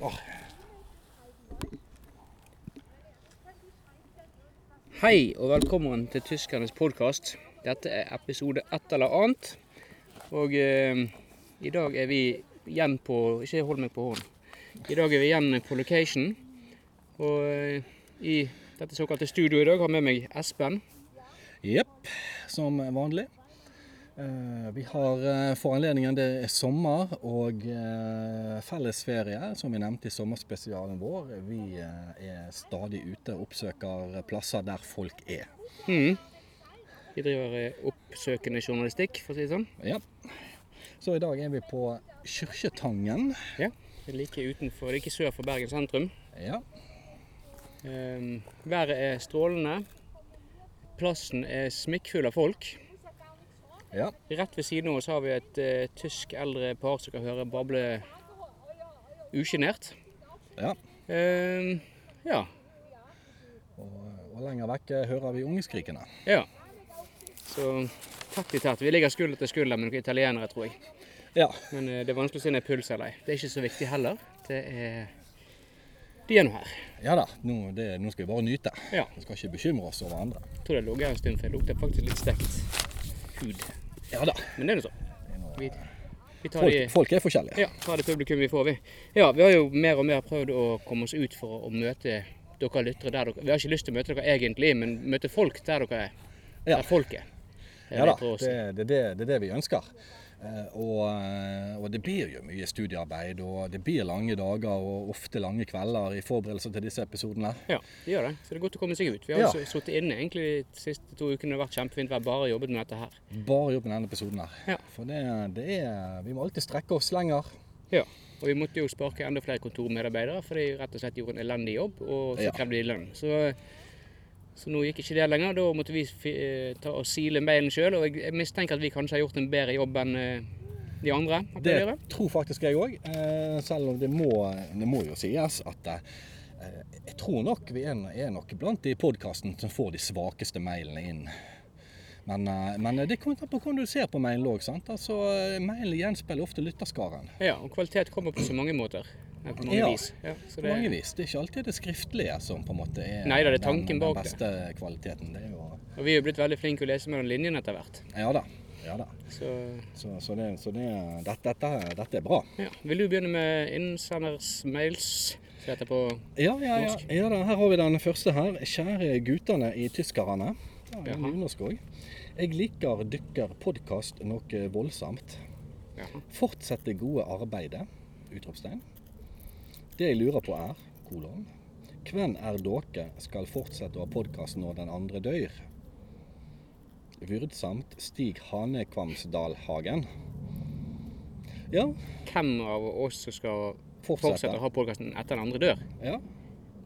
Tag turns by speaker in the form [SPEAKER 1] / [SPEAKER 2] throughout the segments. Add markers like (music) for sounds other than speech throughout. [SPEAKER 1] Åh.
[SPEAKER 2] Hei og velkommen til Tyskernes podkast. Dette er episode ett eller annet. Og eh, i dag er vi igjen på Ikke hold meg på hånden. I dag er vi igjen på location. Og eh, i dette såkalte studioet i dag har jeg med meg Espen.
[SPEAKER 1] Jepp, som vanlig. Eh, Vi har eh, for anledningen det er sommer og eh, fellesferie, som vi nevnte i sommerspesialen vår. Vi eh, er stadig ute og oppsøker plasser der folk er.
[SPEAKER 2] Mm. Vi driver eh, oppsøkende journalistikk, for å si det sånn.
[SPEAKER 1] Ja. Så i dag er vi på Kyrkjetangen.
[SPEAKER 2] Det er like utenfor, det er ikke sør for Bergen sentrum.
[SPEAKER 1] Ja.
[SPEAKER 2] Eh, været er strålende. Plassen er smikkfull av folk.
[SPEAKER 1] ja.
[SPEAKER 2] Rett ved siden av oss har vi et eh, tysk eldre par som kan høre bable usjenert.
[SPEAKER 1] Ja.
[SPEAKER 2] Eh, ja.
[SPEAKER 1] Og, og lenger vekk eh, hører vi ungeskrikene.
[SPEAKER 2] Ja. Så tett i tett. Vi ligger skulder til skulder med noen italienere, tror jeg.
[SPEAKER 1] Ja.
[SPEAKER 2] Men eh, det er vanskelig å si om det er puls eller ei. Det er ikke så viktig heller. Det er De er nå her.
[SPEAKER 1] ja da, nå, det, nå skal vi bare nyte.
[SPEAKER 2] Ja.
[SPEAKER 1] Vi skal ikke bekymre oss over andre.
[SPEAKER 2] Jeg tror det lå her en stund, for det lukter faktisk litt stekt hud.
[SPEAKER 1] Ja da.
[SPEAKER 2] Men det er nå sånn. Vi, vi tar de
[SPEAKER 1] Folk, folk er forskjellige.
[SPEAKER 2] Ja, ta det publikum vi får, vi. Ja, vi har jo mer og mer prøvd å komme oss ut for å møte dere lyttere der dere Vi har ikke lyst til å møte dere egentlig, men møte folk der dere er.
[SPEAKER 1] Ja.
[SPEAKER 2] Der folk er.
[SPEAKER 1] Ja da,
[SPEAKER 2] prøver å
[SPEAKER 1] det,
[SPEAKER 2] si.
[SPEAKER 1] det, er det, det er det vi ønsker. Eh, Og, eh, og det blir jo mye studiearbeid, og det blir lange dager og ofte lange kvelder i forberedelser til disse episodene.
[SPEAKER 2] Ja, det gjør det. Så det er godt å komme seg ut. Vi har
[SPEAKER 1] Ja.
[SPEAKER 2] jo s- sittet inne egentlig de siste to ukene. Det har vært kjempefint vær, bare jobbet med dette her.
[SPEAKER 1] Bare jobb med denne episoden her.
[SPEAKER 2] Ja.
[SPEAKER 1] For det, det er Vi må alltid strekke oss lenger.
[SPEAKER 2] Ja. Og vi måtte jo sparke enda flere kontormedarbeidere, for de rett og slett gjorde en elendig jobb, og så
[SPEAKER 1] Ja.
[SPEAKER 2] krevde de lønn. Så, så nå gikk ikke det lenger. Da måtte vi fi- eh, ta og sile mailen sjøl, og jeg jeg mistenker at vi kanskje har gjort en bedre jobb enn eh, de andre. at
[SPEAKER 1] Det
[SPEAKER 2] vi gjør.
[SPEAKER 1] tror faktisk jeg òg. Selv om det må, det må jo sies at eh, jeg tror nok vi er, er nok blant de i podkasten som får de svakeste mailene inn. Men, eh, men det kommer an på hvordan du ser på mailen òg. Altså, eh, mailen gjenspeiler ofte lytterskaren.
[SPEAKER 2] Ja, og kvalitet kommer på så mange måter. eh, På mange
[SPEAKER 1] Ja.
[SPEAKER 2] vis. Ja, så
[SPEAKER 1] På
[SPEAKER 2] det,
[SPEAKER 1] mange vis. Det er ikke alltid det skriftlige som på en måte er
[SPEAKER 2] Nei, det er
[SPEAKER 1] den-
[SPEAKER 2] tanken
[SPEAKER 1] den
[SPEAKER 2] bak det.
[SPEAKER 1] beste kvaliteten. Det er jo
[SPEAKER 2] og vi er jo blitt veldig flinke å lese mellom linjene etter hvert.
[SPEAKER 1] Ja da. Ja da.
[SPEAKER 2] Så
[SPEAKER 1] Så, så, det, så det, dette, dette, dette er bra.
[SPEAKER 2] ja. Vil du begynne med innsenders mails? Som heter på
[SPEAKER 1] Ja, ja, ja.
[SPEAKER 2] Norsk.
[SPEAKER 1] ja da, her har vi den første her. Kjære gutane i tyskerne. Ja, det er
[SPEAKER 2] Jaha.
[SPEAKER 1] nynorsk òg. Jeg liker dykker podkast noe voldsomt.
[SPEAKER 2] ja.
[SPEAKER 1] Fortsett det gode arbeidet. Utropstegn. Det jeg lurer på er kolon. Hvem er dere skal fortsette å ha podkast når den andre dør? Vyrdsamt Stig Hanekvamsdalhagen. Ja,
[SPEAKER 2] Hvem av oss som skal fortsette å
[SPEAKER 1] fortsette.
[SPEAKER 2] ha podkasten etter den andre dør?
[SPEAKER 1] Ja,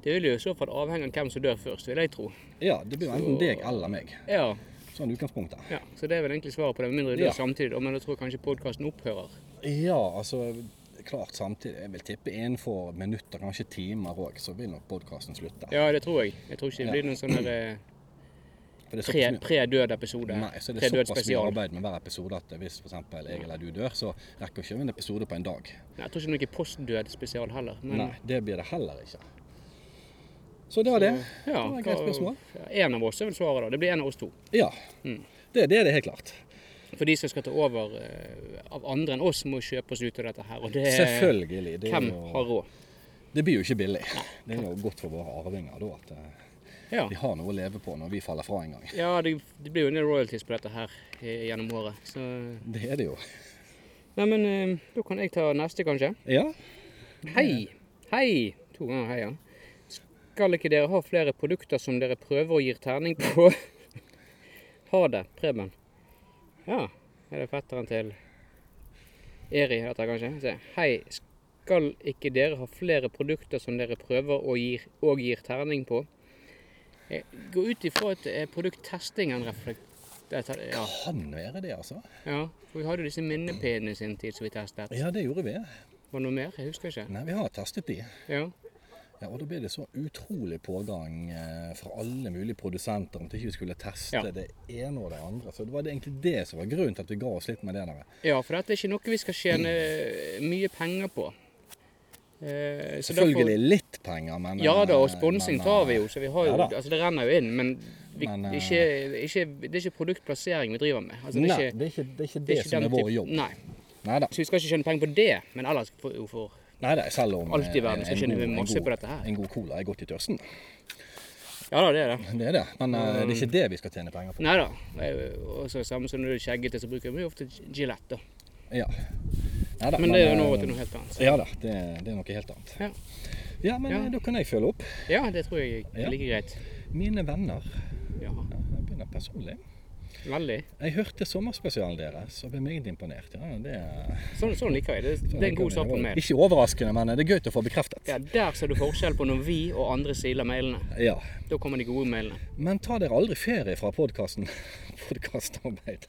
[SPEAKER 2] Det vil jo i så fall avhenge av hvem som dør først, vil jeg tro.
[SPEAKER 1] ja, det blir enten deg eller meg.
[SPEAKER 2] Ja,
[SPEAKER 1] Sånn utgangspunktet.
[SPEAKER 2] ja. Så det er vel egentlig svaret på det, med mindre de dør
[SPEAKER 1] Ja.
[SPEAKER 2] samtidig. da, Men da tror jeg kanskje podkasten opphører.
[SPEAKER 1] Ja, altså klart samtidig. Jeg vil tippe innenfor minutter, kanskje timer òg, så vil nok podkasten slutte.
[SPEAKER 2] Ja, det tror jeg. Jeg tror ikke det blir noen sånn der, eh,
[SPEAKER 1] For det er
[SPEAKER 2] pre-
[SPEAKER 1] såpass mye-
[SPEAKER 2] pre-død-episode.
[SPEAKER 1] Nei, så det er såpass mye
[SPEAKER 2] Pre-død-spesial.
[SPEAKER 1] arbeid med hver episode at hvis f.eks. jeg eller du dør, så rekker vi ikke en episode på en dag.
[SPEAKER 2] Nei, Jeg tror ikke det blir noe post-død-spesial heller. Men,
[SPEAKER 1] Nei, det blir det heller ikke. Så det var det.
[SPEAKER 2] Ja,
[SPEAKER 1] det var et greit
[SPEAKER 2] hva-
[SPEAKER 1] spørsmål.
[SPEAKER 2] ja, En av oss er vel svaret, da. Det blir en av oss to.
[SPEAKER 1] Ja.
[SPEAKER 2] Mm.
[SPEAKER 1] Det, det er det helt klart.
[SPEAKER 2] For de som skal ta over eh, av andre enn oss, må kjøpe oss ut av dette her. Og det er
[SPEAKER 1] Selvfølgelig. Det, er
[SPEAKER 2] Eh, Hvem
[SPEAKER 1] jo,
[SPEAKER 2] har råd?
[SPEAKER 1] det blir jo ikke billig. Det er jo godt for våre arvinger da at eh,
[SPEAKER 2] Ja.
[SPEAKER 1] de har noe å leve på når vi faller fra en gang.
[SPEAKER 2] ja, det, det blir jo en del royalties på dette her eh, gjennom året. Så
[SPEAKER 1] Det er det jo.
[SPEAKER 2] Nei, men eh, da kan jeg ta neste, kanskje.
[SPEAKER 1] Ja.
[SPEAKER 2] Hei! Hei! To ganger hei, ja. Skal ikke dere ha flere produkter som dere prøver og gir terning på? (laughs) ha det, Preben. Ja, er det fetteren til Eri heter han kanskje? Se. Hei, skal ikke dere ha flere produkter som dere prøver og gir, og gir terning på? Jeg går ut ifra at det er produkttesting han reflekterer ja.
[SPEAKER 1] Kan være det, altså.
[SPEAKER 2] ja, for vi hadde jo disse minnepinnene i sin tid som vi testet.
[SPEAKER 1] Ja, det gjorde vi.
[SPEAKER 2] Var det noe mer? Jeg husker ikke.
[SPEAKER 1] Nei, vi har testet de.
[SPEAKER 2] Ja.
[SPEAKER 1] Ja, og da blir det så utrolig pågang eh, fra alle mulige produsenter om at ikke vi skulle teste
[SPEAKER 2] Ja.
[SPEAKER 1] det ene og det andre. Så det var det egentlig det som var grunnen til at vi ga oss litt med det der.
[SPEAKER 2] eh, Ja, for dette er ikke noe vi skal tjene mye penger på. Eh, så
[SPEAKER 1] Selvfølgelig litt penger, men
[SPEAKER 2] Derfor, ja da, og
[SPEAKER 1] eh,
[SPEAKER 2] sponsing
[SPEAKER 1] men, eh,
[SPEAKER 2] tar vi jo, så vi har jo
[SPEAKER 1] ja da.
[SPEAKER 2] Altså, det renner jo inn, men, vi,
[SPEAKER 1] Men, eh,
[SPEAKER 2] ikke, ikke, det er ikke produktplassering vi driver med. Altså, det er
[SPEAKER 1] Nei,
[SPEAKER 2] ikke,
[SPEAKER 1] det er ikke det, er ikke det,
[SPEAKER 2] det er ikke
[SPEAKER 1] som
[SPEAKER 2] den
[SPEAKER 1] er vår
[SPEAKER 2] typ-
[SPEAKER 1] jobb.
[SPEAKER 2] Nei.
[SPEAKER 1] Neida.
[SPEAKER 2] Så vi skal ikke tjene penger på det, men ellers for, jo, for
[SPEAKER 1] Nei da, selv om
[SPEAKER 2] Alt i
[SPEAKER 1] eh,
[SPEAKER 2] verden
[SPEAKER 1] en-
[SPEAKER 2] skal
[SPEAKER 1] en
[SPEAKER 2] tjene
[SPEAKER 1] god- en
[SPEAKER 2] masse
[SPEAKER 1] god-
[SPEAKER 2] på dette her.
[SPEAKER 1] En god cola er godt i tørsten.
[SPEAKER 2] Ja da, det er det.
[SPEAKER 1] Det er det, men eh, det er
[SPEAKER 2] Mm.
[SPEAKER 1] ikke det vi skal tjene penger på.
[SPEAKER 2] Nei da. Eh, Og så samme som når du er skjeggete, så bruker vi ofte Gillette. da.
[SPEAKER 1] Ja. Neida,
[SPEAKER 2] Men det er jo nå
[SPEAKER 1] eh,
[SPEAKER 2] til noe helt annet.
[SPEAKER 1] Ja da, det, det er noe helt annet.
[SPEAKER 2] Ja.
[SPEAKER 1] Ja, men
[SPEAKER 2] Ja.
[SPEAKER 1] eh, da kan jeg følge opp.
[SPEAKER 2] Ja, det tror jeg
[SPEAKER 1] Ja.
[SPEAKER 2] er like greit.
[SPEAKER 1] Mine venner
[SPEAKER 2] Ja,
[SPEAKER 1] ja, Jeg begynner personlig.
[SPEAKER 2] Veldig.
[SPEAKER 1] Jeg hørte sommerspesialen deres og ble meget imponert. Ja, det er,
[SPEAKER 2] Sånn, sånn liker jeg det. Det er en god start på en mail.
[SPEAKER 1] Ikke overraskende, men det er gøy å få bekreftet.
[SPEAKER 2] Ja, der ser du forskjell på når vi og andre siler mailene.
[SPEAKER 1] Ja.
[SPEAKER 2] Da kommer de gode mailene.
[SPEAKER 1] Men ta dere aldri ferie fra (laughs) podkasten. Podkastarbeidet.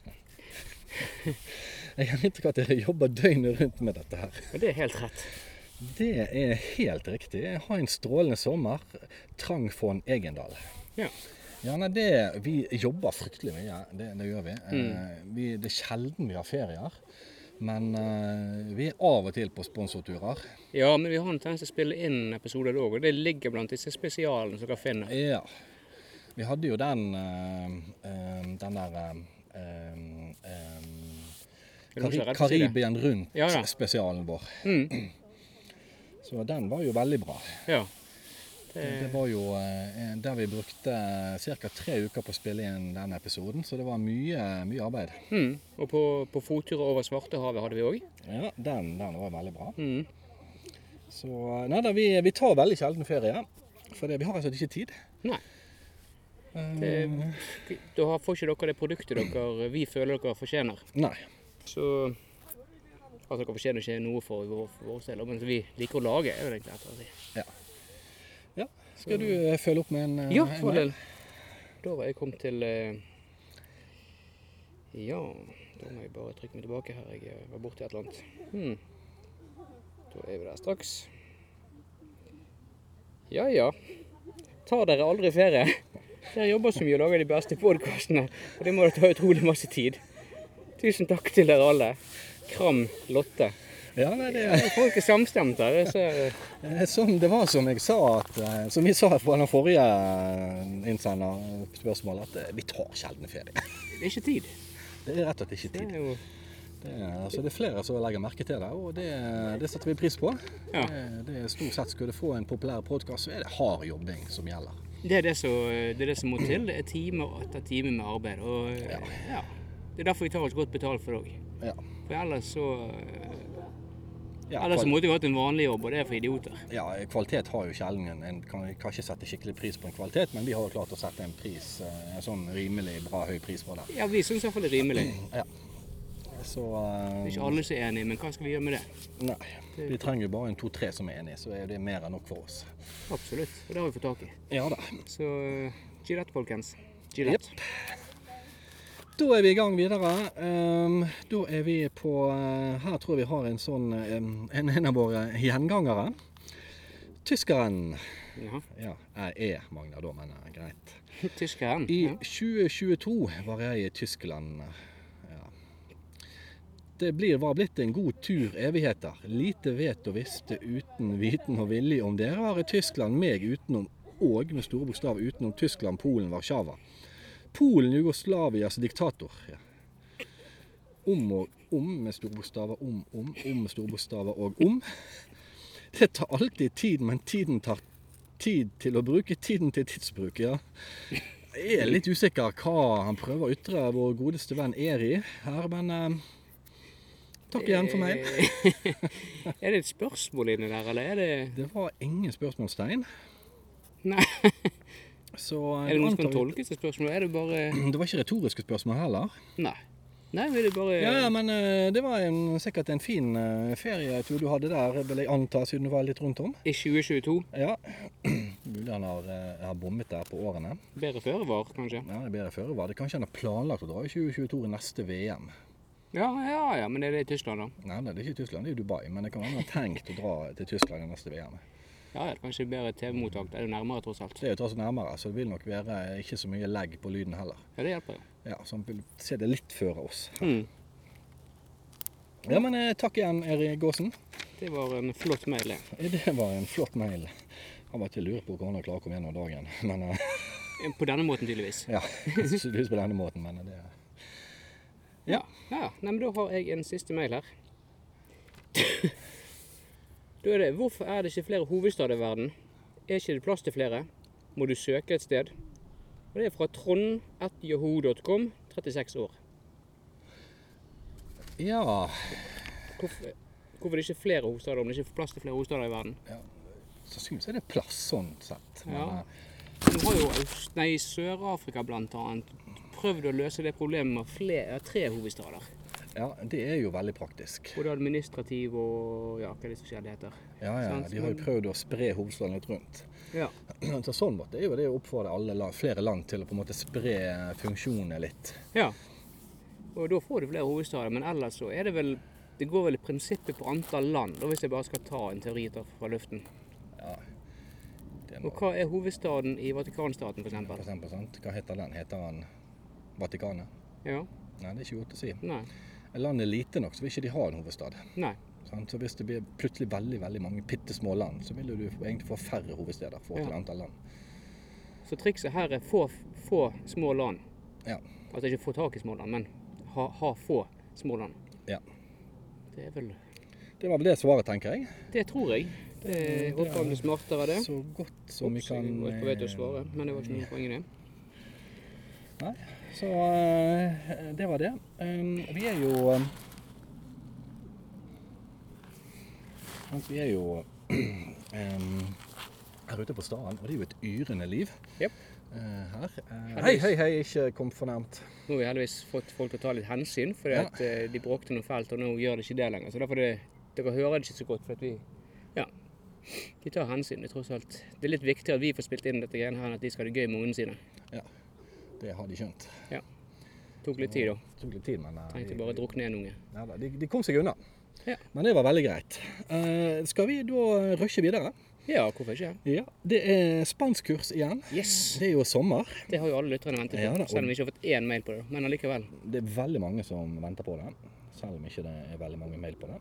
[SPEAKER 1] Jeg har inntrykk av at dere jobber døgnet rundt med dette her.
[SPEAKER 2] Og det er helt rett.
[SPEAKER 1] Det er helt riktig. Ha en strålende sommer. Trang von Egendal.
[SPEAKER 2] Ja.
[SPEAKER 1] Ja, nei, det, vi jobber fryktelig mye. Det, det gjør vi.
[SPEAKER 2] Mm.
[SPEAKER 1] Eh, vi. Det er sjelden vi har ferier. Men eh, vi er av og til på sponsorturer.
[SPEAKER 2] ja, men vi har en tendens til å spille inn episoder òg, og det ligger blant disse spesialene som dere finner.
[SPEAKER 1] Ja. Vi hadde jo den eh, eh, den der eh, eh, eh,
[SPEAKER 2] Er det noen som er redd for
[SPEAKER 1] Kari
[SPEAKER 2] å si det?
[SPEAKER 1] Karibien
[SPEAKER 2] Ja, ja.
[SPEAKER 1] rundt-spesialen vår.
[SPEAKER 2] Mm,
[SPEAKER 1] Så den var jo veldig bra.
[SPEAKER 2] ja. Eh.
[SPEAKER 1] Det var jo eh, en- der vi brukte ca. tre uker på å spille inn den episoden, så det var mye, mye arbeid.
[SPEAKER 2] Mm. Og på, på fotturer over Svartehavet hadde vi òg.
[SPEAKER 1] Ja, den, den var veldig bra.
[SPEAKER 2] Mm.
[SPEAKER 1] Så nei da, vi, vi tar veldig sjelden ferie. For det, vi har altså ikke tid.
[SPEAKER 2] Nei.
[SPEAKER 1] Eh,
[SPEAKER 2] Det- Da har- får ikke dere det produktet dere, vi føler dere fortjener.
[SPEAKER 1] nei.
[SPEAKER 2] Så Altså, dere fortjener ikke noe for vår, vår del, men vi liker å lage. er jo det egentlig lettere å si.
[SPEAKER 1] Ja. Skal du eh, følge opp med en eh,
[SPEAKER 2] Ja,
[SPEAKER 1] en
[SPEAKER 2] for del.
[SPEAKER 1] mail?
[SPEAKER 2] Da var jeg kommet til eh, Ja, da må jeg bare trykke meg tilbake her. Jeg eh, var borti et eller annet. Hmm. Da er vi der straks. Ja ja. Tar dere aldri ferie? Dere jobber så mye og lager de beste podkastene, og det må da ta utrolig masse tid. Tusen takk til dere alle. Kram Lotte.
[SPEAKER 1] Ja, nei, det,
[SPEAKER 2] Folk er samstemte her. Så,
[SPEAKER 1] eh, som, det var som jeg sa at, eh, Som vi sa på den forrige innsenderspørsmålet, at eh, vi tar sjelden ferie. (laughs)
[SPEAKER 2] det er ikke tid.
[SPEAKER 1] Det er rett og slett ikke
[SPEAKER 2] Det
[SPEAKER 1] tid.
[SPEAKER 2] er jo
[SPEAKER 1] Det er, altså, det er flere som legger merke til det, og det, det setter vi pris på.
[SPEAKER 2] Ja.
[SPEAKER 1] Det, det er Stort sett skulle du få en populær podkast, så er det hard jobbing som gjelder.
[SPEAKER 2] Det er det, som, det er det som må til. Det er timer etter time med arbeid. Og, ja. Det er derfor vi tar oss godt betalt for det òg.
[SPEAKER 1] Ja.
[SPEAKER 2] For ellers så
[SPEAKER 1] Ja,
[SPEAKER 2] Ellers så
[SPEAKER 1] kval-
[SPEAKER 2] måtte vi hatt en vanlig jobb, og det er for idioter.
[SPEAKER 1] Ja, kvalitet har jo sjelden en, en kan, kan ikke sette skikkelig pris på en kvalitet, men vi har jo klart å sette en pris, eh, en sånn rimelig bra høy pris på det.
[SPEAKER 2] Ja, vi syns iallfall det er rimelig.
[SPEAKER 1] Så
[SPEAKER 2] Det er
[SPEAKER 1] eh,
[SPEAKER 2] ikke alle som er enige, men hva skal vi gjøre med det?
[SPEAKER 1] nei, vi trenger jo bare en to-tre som er enige, så er det mer enn nok for oss.
[SPEAKER 2] Absolutt. Og det har vi fått tak i.
[SPEAKER 1] Ja da.
[SPEAKER 2] Så eh, Gillette, folkens. Gillette.
[SPEAKER 1] Da er vi i gang videre. Ehm, da er vi på eh, Her tror jeg vi har en sånn eh, en, en av våre gjengangere. Tyskeren.
[SPEAKER 2] Ja.
[SPEAKER 1] Ja, jeg er Magna, da, men eh, greit.
[SPEAKER 2] Tyskeren.
[SPEAKER 1] I
[SPEAKER 2] Ja.
[SPEAKER 1] 2022 var jeg i Tyskland. Ja. Det blir, var blitt en god tur evigheter. Lite vet og visste uten viten og vilje om dere var i Tyskland, meg utenom og med store bokstav utenom Tyskland, Polen, Warszawa. Polen, Jugoslavias diktator. Ja. Om og om med store bokstaver, om, om, om med store bokstaver og om. Det tar alltid tid, men tiden tar tid til å bruke tiden til tidsbruk, ja. Jeg er litt usikker hva han prøver å ytre vår godeste venn Eri her, men eh, Takk igjen for meg.
[SPEAKER 2] (laughs) er det et spørsmål inni der, eller er det
[SPEAKER 1] Det var ingen spørsmålstegn.
[SPEAKER 2] Nei.
[SPEAKER 1] Så eh,
[SPEAKER 2] Er det noen som kan tolke seg spørsmål? Er det bare
[SPEAKER 1] Det var ikke retoriske spørsmål heller.
[SPEAKER 2] Nei. Nei, men er det bare
[SPEAKER 1] Ja, ja, men eh, det var en, sikkert en fin eh, ferietur du hadde der, vil jeg anta, siden du var litt rundt om.
[SPEAKER 2] I 2022?
[SPEAKER 1] Ja. (clears throat) Mulig han har, eh, har bommet der på årene.
[SPEAKER 2] Bedre føre var, kanskje?
[SPEAKER 1] Ja, det er bedre føre var. Det kanskje han har planlagt å dra i 2022 i neste VM.
[SPEAKER 2] Ja, ja, ja, men er det i Tyskland, da?
[SPEAKER 1] Nei, nei, det er ikke i Tyskland, det er i Dubai. Men det kan være han har tenkt å dra til Tyskland i neste VM.
[SPEAKER 2] Ja, ja, kanskje bedre TV-mottak. Det er jo nærmere, tross alt.
[SPEAKER 1] Det er jo tross alt nærmere, så det vil nok være ikke så mye legg på lyden heller.
[SPEAKER 2] Ja, det hjelper jo.
[SPEAKER 1] Ja, Så han vil se det litt før oss.
[SPEAKER 2] Mm.
[SPEAKER 1] Ja, men eh, takk igjen, Eri Gåsen. (laughs)
[SPEAKER 2] Det var en flott mail, det.
[SPEAKER 1] Det var en flott mail. Han var ikke lurer på hvordan han klarer å komme gjennom dagen. (laughs) Men eh,
[SPEAKER 2] På denne måten, tydeligvis.
[SPEAKER 1] ja, det ser ikke ut på denne måten, men eh, det Ja.
[SPEAKER 2] Ja, nei, men da har jeg en siste mail her. (laughs) da er det Hvorfor er det ikke flere hovedstader i verden? Er ikke det plass til flere? Må du søke et sted? Og det er fra trond.yahoo.com, 36 år.
[SPEAKER 1] Ja,
[SPEAKER 2] Hvorfor, hvorfor er det ikke flere hovedstader om det ikke er plass til flere hovedstader i verden?
[SPEAKER 1] sannsynligvis er det plass sånn sett. Men,
[SPEAKER 2] Ja.
[SPEAKER 1] eh,
[SPEAKER 2] Nå har jo Aust- nei, Sør-Afrika bl.a. prøvd å løse det problemet med flere, tre hovedstader.
[SPEAKER 1] ja, det er jo veldig praktisk.
[SPEAKER 2] Både administrativ og ja, hva er det som skjer det heter.
[SPEAKER 1] Ja, ja,
[SPEAKER 2] Sant,
[SPEAKER 1] De har jo
[SPEAKER 2] men-
[SPEAKER 1] prøvd å spre hovedstaden litt rundt.
[SPEAKER 2] Ja.
[SPEAKER 1] Så sånn måte er jo det å oppfordre alle land, flere land til å på en måte spre funksjonene litt.
[SPEAKER 2] Ja. Og da får du flere hovedstader, men ellers så er det vel Det går vel i prinsippet på antall land, da hvis jeg bare skal ta en teori ta fra luften.
[SPEAKER 1] Ja. Det må,
[SPEAKER 2] Og hva er hovedstaden i Vatikanstaten,
[SPEAKER 1] for
[SPEAKER 2] f.eks.?
[SPEAKER 1] eksempel, sant? Hva heter den? Heter han Vatikanet?
[SPEAKER 2] Ja?
[SPEAKER 1] Nei, det er ikke godt å si.
[SPEAKER 2] Nei.
[SPEAKER 1] Landet er lite nok, så vil ikke de ha en hovedstad.
[SPEAKER 2] Nei.
[SPEAKER 1] Sant? Så hvis det blir plutselig veldig veldig mange bitte små land, så vil jo du egentlig få færre hovedsteder. for
[SPEAKER 2] Ja.
[SPEAKER 1] til antall land.
[SPEAKER 2] Så trikset her er få, få små land.
[SPEAKER 1] Ja.
[SPEAKER 2] Altså ikke få tak i små land, men ha, ha få små land.
[SPEAKER 1] ja.
[SPEAKER 2] Det er vel
[SPEAKER 1] Det var vel det svaret, tenker jeg.
[SPEAKER 2] Det tror jeg. Det er
[SPEAKER 1] Eh, det er-
[SPEAKER 2] åpenbart smartere, det.
[SPEAKER 1] Så godt som vi
[SPEAKER 2] Ops,
[SPEAKER 1] kan
[SPEAKER 2] jeg var på vei til å
[SPEAKER 1] eh,
[SPEAKER 2] svare, men det var ikke noe poeng i det.
[SPEAKER 1] Nei, så eh, det var det. Um, vi er jo um, sant, Vi er jo (clears throat) um, her ute på staden, og det er jo et yrende liv
[SPEAKER 2] Japp.
[SPEAKER 1] eh, her. Eh, hei,
[SPEAKER 2] Heldigvis.
[SPEAKER 1] hei, hei, ikke kom for nærmt.
[SPEAKER 2] Nå har vi heldigvis fått folk til å ta litt hensyn, for
[SPEAKER 1] Ja.
[SPEAKER 2] de bråkte noe fælt, og nå gjør de ikke det lenger. Så derfor det, dere hører det ikke så godt, for at vi Ja. De tar hensyn, det er tross alt. Det er litt viktigere at vi får spilt inn dette greiene her, enn at de skal ha det gøy med ungene sine.
[SPEAKER 1] Det har de skjønt.
[SPEAKER 2] Tok litt tid, da.
[SPEAKER 1] Det tok litt tid, men eh,
[SPEAKER 2] Trengte
[SPEAKER 1] de-
[SPEAKER 2] bare å drukne en unge.
[SPEAKER 1] Ja, da, de, de kom seg unna.
[SPEAKER 2] Ja.
[SPEAKER 1] Men det var veldig greit. Eh, skal vi da rushe videre?
[SPEAKER 2] Ja, hvorfor ikke?
[SPEAKER 1] Ja. Det er spanskkurs igjen.
[SPEAKER 2] Yes!
[SPEAKER 1] Det er jo sommer.
[SPEAKER 2] Det har jo alle lytterne ventet på,
[SPEAKER 1] Ja da, og-
[SPEAKER 2] selv om vi ikke har fått én mail på det. Men allikevel.
[SPEAKER 1] Det er veldig mange som venter på det. Selv om ikke det er veldig mange mail på det.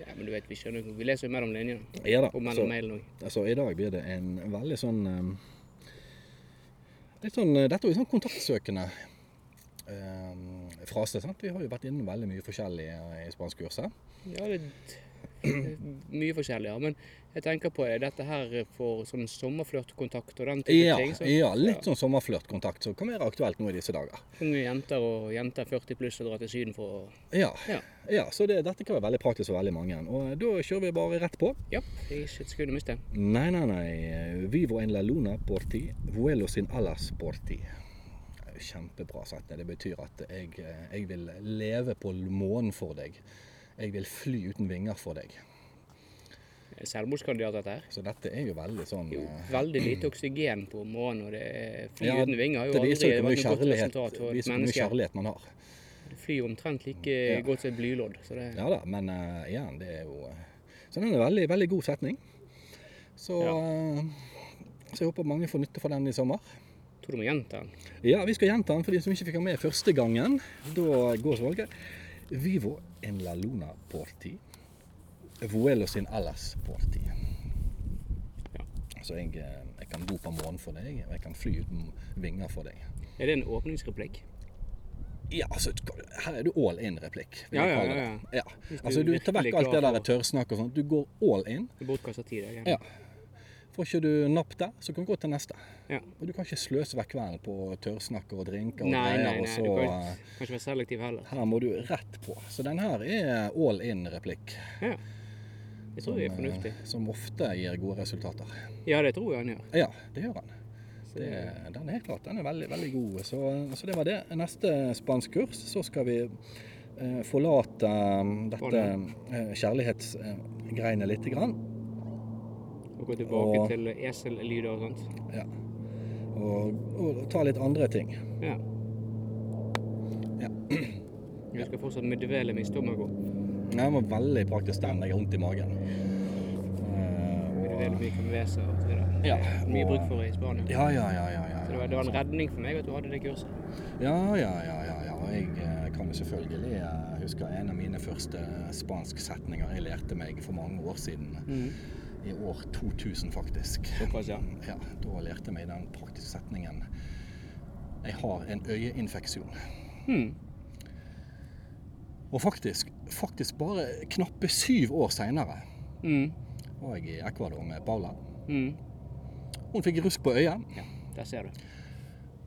[SPEAKER 2] Ja, men du vet, vi skjønner jo Vi leser jo mellom linjene.
[SPEAKER 1] Ja da.
[SPEAKER 2] Og mellom
[SPEAKER 1] Så,
[SPEAKER 2] mailen òg.
[SPEAKER 1] altså, I dag blir det en veldig sånn eh, Litt sånn eh, Dette er jo sånn kontaktsøkende eh, frase. sant? Vi har jo vært innom veldig mye forskjellig eh, i spanskkurset.
[SPEAKER 2] Ja, det er (clears throat) mye forskjellig, ja. Men jeg tenker på er dette her for sånn sommerflørtkontakt og den type
[SPEAKER 1] Ja,
[SPEAKER 2] ting. Så,
[SPEAKER 1] ja, litt sånn sommerflørtkontakt som kan være aktuelt nå i disse dager.
[SPEAKER 2] Unge jenter og jenter 40 pluss og drar til Syden for å
[SPEAKER 1] Ja.
[SPEAKER 2] Ja.
[SPEAKER 1] ja. så det, dette kan være veldig praktisk for veldig mange. Og da kjører vi bare rett på.
[SPEAKER 2] Ja, ikke et sekund å miste.
[SPEAKER 1] Nei, nei, nei. Vivo en la luna por ti, vuelo sin alas por ti. Det er jo Kjempebra sagt. Det betyr at jeg, jeg vil leve på månen for deg. Jeg vil fly uten vinger for deg.
[SPEAKER 2] Selvmordskandidat, dette her.
[SPEAKER 1] Så dette er jo veldig sånn
[SPEAKER 2] Jo,
[SPEAKER 1] eh,
[SPEAKER 2] veldig
[SPEAKER 1] (clears throat)
[SPEAKER 2] lite oksygen på månen, og det er fly
[SPEAKER 1] Ja,
[SPEAKER 2] uten vinger har jo
[SPEAKER 1] Det
[SPEAKER 2] aldri
[SPEAKER 1] viser jo hvor mye
[SPEAKER 2] vært noe godt
[SPEAKER 1] kjærlighet,
[SPEAKER 2] resultat for et
[SPEAKER 1] viser hvor mye
[SPEAKER 2] menneske.
[SPEAKER 1] kjærlighet man har.
[SPEAKER 2] Det flyr jo omtrent like
[SPEAKER 1] Ja.
[SPEAKER 2] godt som et blylodd. Så det,
[SPEAKER 1] Ja da, men eh, igjen, det er jo eh, Så den er en veldig, veldig god setning. Så, eh, så jeg håper mange får nytte for den i sommer.
[SPEAKER 2] tror du må gjenta den.
[SPEAKER 1] Ja, vi skal gjenta den for de som ikke fikk den med første gangen. Da går valget. Vivo en la luna por ti. Vuelo sin alas por ti.
[SPEAKER 2] Ja.
[SPEAKER 1] Så jeg, eh, jeg kan bo på månen for deg, og jeg kan fly uten vinger for deg.
[SPEAKER 2] Er det en åpningsreplikk?
[SPEAKER 1] Ja, altså, her er du all in-replikk. vil
[SPEAKER 2] Ja,
[SPEAKER 1] jeg
[SPEAKER 2] ja,
[SPEAKER 1] kalle
[SPEAKER 2] ja,
[SPEAKER 1] det. ja.
[SPEAKER 2] Hvis du
[SPEAKER 1] Altså, du tar
[SPEAKER 2] virkelig
[SPEAKER 1] vekk alt det
[SPEAKER 2] klarer
[SPEAKER 1] der tørrsnakk og sånt. Du går all in.
[SPEAKER 2] Det er bortkastet tid. det er
[SPEAKER 1] Ja.
[SPEAKER 2] greit.
[SPEAKER 1] Får ikke du napp der, så kan du gå til neste.
[SPEAKER 2] Ja.
[SPEAKER 1] Og du kan ikke sløse vekk kvelden på tørrsnakk og drinker og
[SPEAKER 2] Nei, nei,
[SPEAKER 1] greier, og
[SPEAKER 2] nei.
[SPEAKER 1] så
[SPEAKER 2] Du kan
[SPEAKER 1] eh,
[SPEAKER 2] ikke- kan ikke være selektiv heller.
[SPEAKER 1] Her må du rett på. Så den her er all in-replikk.
[SPEAKER 2] Ja. Jeg tror det er
[SPEAKER 1] som, eh,
[SPEAKER 2] fornuftig.
[SPEAKER 1] Som ofte gir gode resultater.
[SPEAKER 2] Ja, det tror jeg han gjør.
[SPEAKER 1] Ja, det gjør den.
[SPEAKER 2] Så
[SPEAKER 1] Det,
[SPEAKER 2] det,
[SPEAKER 1] den er helt klart, den er veldig, veldig god. Så, så det var det. Neste spansk kurs, så skal vi eh, forlate eh, dette eh, kjærlighetsgreiene lite grann.
[SPEAKER 2] å gå tilbake
[SPEAKER 1] Og-
[SPEAKER 2] til esellyder og sånt.
[SPEAKER 1] Ja. Og, og ta litt andre ting.
[SPEAKER 2] Ja.
[SPEAKER 1] Ja.
[SPEAKER 2] Jeg husker fortsatt med dvelet mitt stomago.
[SPEAKER 1] Den var veldig praktisk den. Jeg har vondt i magen. Eh,
[SPEAKER 2] Med
[SPEAKER 1] og-
[SPEAKER 2] ved mye Camvesa og så videre. Det
[SPEAKER 1] Ja,
[SPEAKER 2] er Mye
[SPEAKER 1] og-
[SPEAKER 2] bruk for det i Spania.
[SPEAKER 1] Ja, ja, ja. ja, ja,
[SPEAKER 2] Så det
[SPEAKER 1] ja.
[SPEAKER 2] var, det var en redning for meg at du hadde det kurset.
[SPEAKER 1] Ja, ja, ja, ja, ja. Og jeg eh, kan jo selvfølgelig eh, huske en av mine første spansksetninger jeg lærte meg for mange år siden. I år 2000, faktisk.
[SPEAKER 2] Såpass, ja.
[SPEAKER 1] (laughs) Ja, Da lærte jeg meg den praktiske setningen. Jeg har en øyeinfeksjon.
[SPEAKER 2] Hmm.
[SPEAKER 1] Og faktisk, faktisk bare knappe syv år seinere
[SPEAKER 2] Mm.
[SPEAKER 1] var jeg i Ecuador med Paula.
[SPEAKER 2] Mm.
[SPEAKER 1] Hun fikk rusk på øyet.
[SPEAKER 2] Der ser du.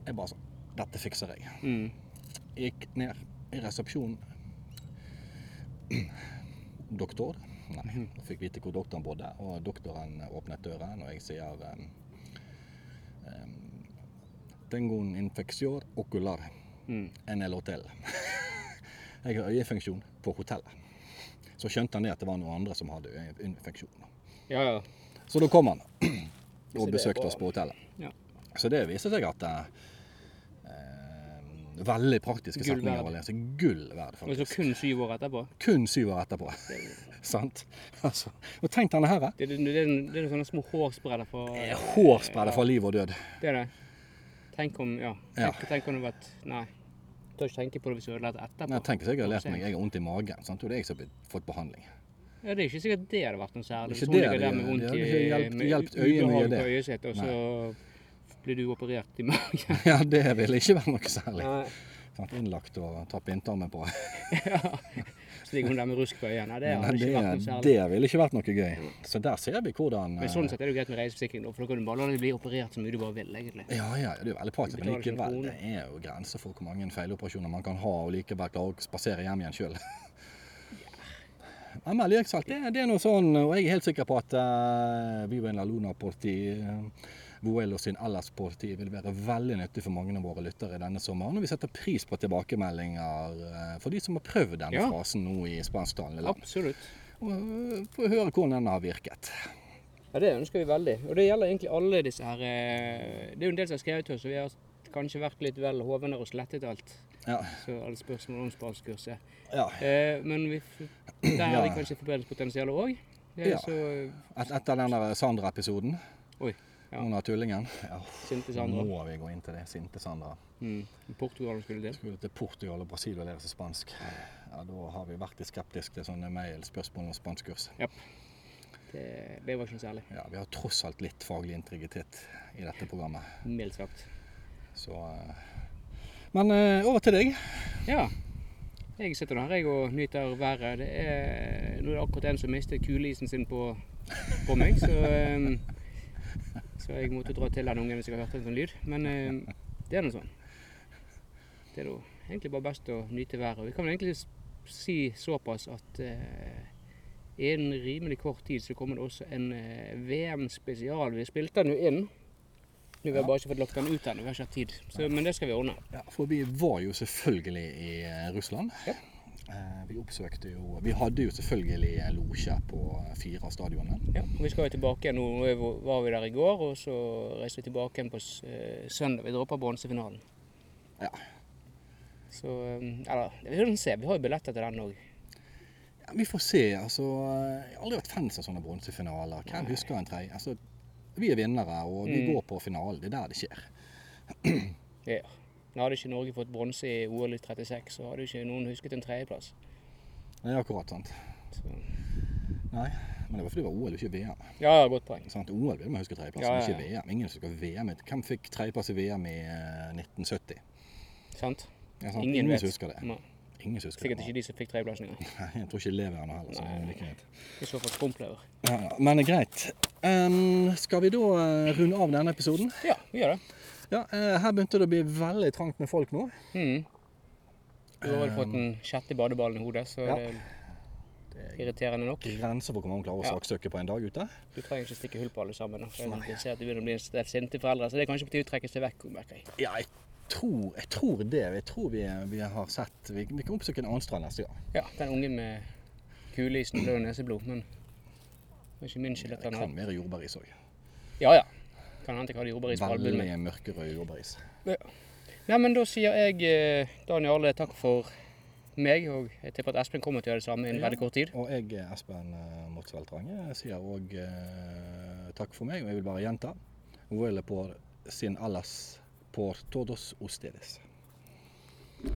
[SPEAKER 1] Jeg bare sånn Dette fikser jeg.
[SPEAKER 2] Mm.
[SPEAKER 1] gikk ned i resepsjonen. Doktor? Nei. Jeg fikk vite hvor doktoren bodde, og doktoren åpnet døren, og jeg sier um, um, Tengo un infeksjon ocular
[SPEAKER 2] Mm.
[SPEAKER 1] en el hotel. (laughs) jeg har øyefunksjon på hotellet. Så skjønte han det at det var noen andre som hadde øyeinfeksjon.
[SPEAKER 2] Ja, ja.
[SPEAKER 1] Så da kom han
[SPEAKER 2] Så
[SPEAKER 1] og
[SPEAKER 2] det er
[SPEAKER 1] besøkte
[SPEAKER 2] bra.
[SPEAKER 1] oss på hotellet.
[SPEAKER 2] Ja.
[SPEAKER 1] Så det viser seg at eh, eh, Veldig praktiske
[SPEAKER 2] Gull
[SPEAKER 1] setninger
[SPEAKER 2] verd.
[SPEAKER 1] å lese. Gull verd,
[SPEAKER 2] Og så
[SPEAKER 1] faktisk.
[SPEAKER 2] kun syv år etterpå.
[SPEAKER 1] Kun syv år etterpå. (laughs) Sant? Altså. Og tenk denne her. eh.
[SPEAKER 2] Det, det, det, det, det er noen sånne små hårspredder for
[SPEAKER 1] Eh, Hårspredder for liv og død.
[SPEAKER 2] Det er det. Tenk om Ja.
[SPEAKER 1] Ja.
[SPEAKER 2] Tenk, tenk om det var et Nei. Tør ikke tenke på det hvis du ødelegger det etterpå.
[SPEAKER 1] Nei, tenk hvis jeg hadde lært meg jeg har vondt i magen, sant? og det er jeg som har fått behandling. (laughs)
[SPEAKER 2] Ja, det er ikke sikkert det hadde vært noe særlig. Hvis
[SPEAKER 1] Ikke
[SPEAKER 2] hun
[SPEAKER 1] det
[SPEAKER 2] ligger der
[SPEAKER 1] hadde-
[SPEAKER 2] med vondt
[SPEAKER 1] det
[SPEAKER 2] i
[SPEAKER 1] hadde ikke hjulpet-
[SPEAKER 2] med
[SPEAKER 1] hjulpet øyet mye,
[SPEAKER 2] ubehag
[SPEAKER 1] det.
[SPEAKER 2] på øyet sitt, og så blir du operert i magen.
[SPEAKER 1] Ja, det ville ikke være noe særlig. Sant? Innlagt og tatt blindtarmen på.
[SPEAKER 2] (laughs) Så ligger hun der med rusk på øyet. Nei, det
[SPEAKER 1] Men
[SPEAKER 2] hadde
[SPEAKER 1] Det,
[SPEAKER 2] ikke vært noe særlig. Mm.
[SPEAKER 1] det ville ikke vært noe gøy. Så der ser vi hvordan eh,
[SPEAKER 2] Men sånn sett er det jo greit med reiseforsikring, da, for da kan du bare la deg bli operert så mye du bare vil, egentlig.
[SPEAKER 1] Ja, ja, det er jo veldig praktisk, men
[SPEAKER 2] Betaler ikke en
[SPEAKER 1] likevel,
[SPEAKER 2] krone.
[SPEAKER 1] det er jo grenser for hvor mange feiloperasjoner man kan ha og likevel klare å spasere hjem igjen (laughs) sjøl. Men med leksalt, det, det er noe sånn, og jeg er helt sikker på at uh, Viva en la luna porti, uh, Vuelo sin ellers porti, vil være veldig nyttig for mange av våre lyttere denne sommeren. Og vi setter pris på tilbakemeldinger eh, for de som har prøvd denne
[SPEAKER 2] Ja.
[SPEAKER 1] frasen nå i spansktalende land.
[SPEAKER 2] Absolutt.
[SPEAKER 1] Og eh, få høre hvordan den har virket.
[SPEAKER 2] Ja, det ønsker vi veldig. Og det gjelder egentlig alle disse her eh, Det er jo en del som har skrevet til oss, og vi har kanskje vært litt vel hovne og slettet alt.
[SPEAKER 1] Ja,
[SPEAKER 2] Så alle spørsmål om spanskkurset.
[SPEAKER 1] ja.
[SPEAKER 2] Eh, men vi, f- der har vi
[SPEAKER 1] Ja.
[SPEAKER 2] kanskje forbedringspotensial òg.
[SPEAKER 1] Ja.
[SPEAKER 2] Ja. Så
[SPEAKER 1] Et, etter den der Sandra-episoden,
[SPEAKER 2] Oi. Ja.
[SPEAKER 1] hun der tullingen. Ja,
[SPEAKER 2] sinte
[SPEAKER 1] Nå
[SPEAKER 2] Sandra.
[SPEAKER 1] Må vi gå inn til det, sinte Sandra.
[SPEAKER 2] Mm. Portugal skulle til.
[SPEAKER 1] Skulle til Portugal og Brasil og lære seg spansk. Ja, Da har vi vært litt skeptiske til sånne mail-spørsmål om spanskkurs.
[SPEAKER 2] Det, det var ikke noe særlig.
[SPEAKER 1] Ja, vi har tross alt litt faglig integritet i dette programmet.
[SPEAKER 2] Mildt sagt.
[SPEAKER 1] Så eh. Men eh, over til deg.
[SPEAKER 2] Ja. Jeg sitter nå her jeg og nyter været. Det er, nå er det akkurat en som mistet kuleisen sin på, på meg, så, ehm, så jeg måtte dra til den ungen hvis jeg har hørt en sånn lyd. Men ehm, det er nå sånn. Det er nå egentlig bare best å nyte været. Vi kan vel egentlig s- si såpass at eh, innen rimelig kort tid så kommer det også en eh, VM-spesial. Vi spilte den jo inn. Nå har vi bare ikke fått lagt den ut ennå, vi har ikke hatt tid. Så, men det skal vi ordne.
[SPEAKER 1] Ja, for vi var jo selvfølgelig i eh, Russland.
[SPEAKER 2] Ja.
[SPEAKER 1] Eh, Vi oppsøkte jo Vi hadde jo selvfølgelig eh, losje på fire av stadionene.
[SPEAKER 2] Ja, og vi skal jo tilbake igjen. Nå er vi- var vi der i går, og så reiser vi tilbake igjen på s- eh, søndag. Vi dropper bronsefinalen.
[SPEAKER 1] Ja.
[SPEAKER 2] Så eh, Eller, vi får se. Vi har jo billetter til den òg.
[SPEAKER 1] Ja, vi får se. altså, Jeg har aldri vært fans av sånne bronsefinaler. Hvem
[SPEAKER 2] Nei.
[SPEAKER 1] husker en tredje? Altså, vi er vinnere, og vi
[SPEAKER 2] Mm.
[SPEAKER 1] går på finalen. Det er der det skjer.
[SPEAKER 2] Ja. Men hadde ikke Norge fått bronse i OL i 36, så hadde jo ikke noen husket en tredjeplass.
[SPEAKER 1] Det er akkurat sant.
[SPEAKER 2] Så,
[SPEAKER 1] Nei, men det var fordi det var OL, ikke VM.
[SPEAKER 2] ja, ja, godt poeng.
[SPEAKER 1] Sant? OL vil man huske tredjeplass,
[SPEAKER 2] Ja, ja,
[SPEAKER 1] men
[SPEAKER 2] ja.
[SPEAKER 1] ikke VM. Ingen husker VM. Hvem fikk tredjeplass i VM i eh, 1970?
[SPEAKER 2] Sant?
[SPEAKER 1] Ja, sant?
[SPEAKER 2] Ingen
[SPEAKER 1] Ingen,
[SPEAKER 2] vet.
[SPEAKER 1] husker det.
[SPEAKER 2] Nei,
[SPEAKER 1] Ingen husker
[SPEAKER 2] sikkert
[SPEAKER 1] det.
[SPEAKER 2] ikke de som fikk tredjeplassen engang.
[SPEAKER 1] Nei, jeg tror ikke leveren heller. Så det er
[SPEAKER 2] Nei.
[SPEAKER 1] like greit.
[SPEAKER 2] I så fall skrumplever.
[SPEAKER 1] Ja, ja. Men eh, greit. Em, skal vi da eh, runde av denne episoden?
[SPEAKER 2] Ja, vi gjør det.
[SPEAKER 1] Ja, eh, Her begynte det å bli veldig trangt med folk nå.
[SPEAKER 2] Mhm. Du har vel fått den sjette badeballen i hodet, så
[SPEAKER 1] Ja.
[SPEAKER 2] det er irriterende nok.
[SPEAKER 1] Grenser for hvor mange klarer å
[SPEAKER 2] Ja.
[SPEAKER 1] saksøke på en dag ute.
[SPEAKER 2] Du trenger ikke stikke hull på alle sammen. da, for Jeg jeg ser at det begynner å bli en del sinte foreldre, så det er kanskje på tide å trekke seg vekk. merker jeg.
[SPEAKER 1] Ja, jeg tror, jeg tror det. Jeg tror vi, vi har sett Vi, vi kan oppsøke en annen strand neste gang.
[SPEAKER 2] Ja, den ungen med kuleisen blød neseblod, men det var ikke min skyld at
[SPEAKER 1] Jeg
[SPEAKER 2] han
[SPEAKER 1] kan
[SPEAKER 2] hadde
[SPEAKER 1] mer jordbæris òg.
[SPEAKER 2] Ja ja. Kan hende jeg hadde jordbæris på albuen min.
[SPEAKER 1] Veldig mørkerød jordbæris.
[SPEAKER 2] Nei, men da sier jeg, eh, Daniel Arle, takk for meg, og jeg tipper at Espen kommer til å gjøre det samme innen
[SPEAKER 1] Ja.
[SPEAKER 2] veldig kort tid.
[SPEAKER 1] Og jeg, Espen eh, Motzfeldt Range, sier òg eh, takk for meg, og jeg vil bare gjenta. Huele por sin alas por todos ustedes.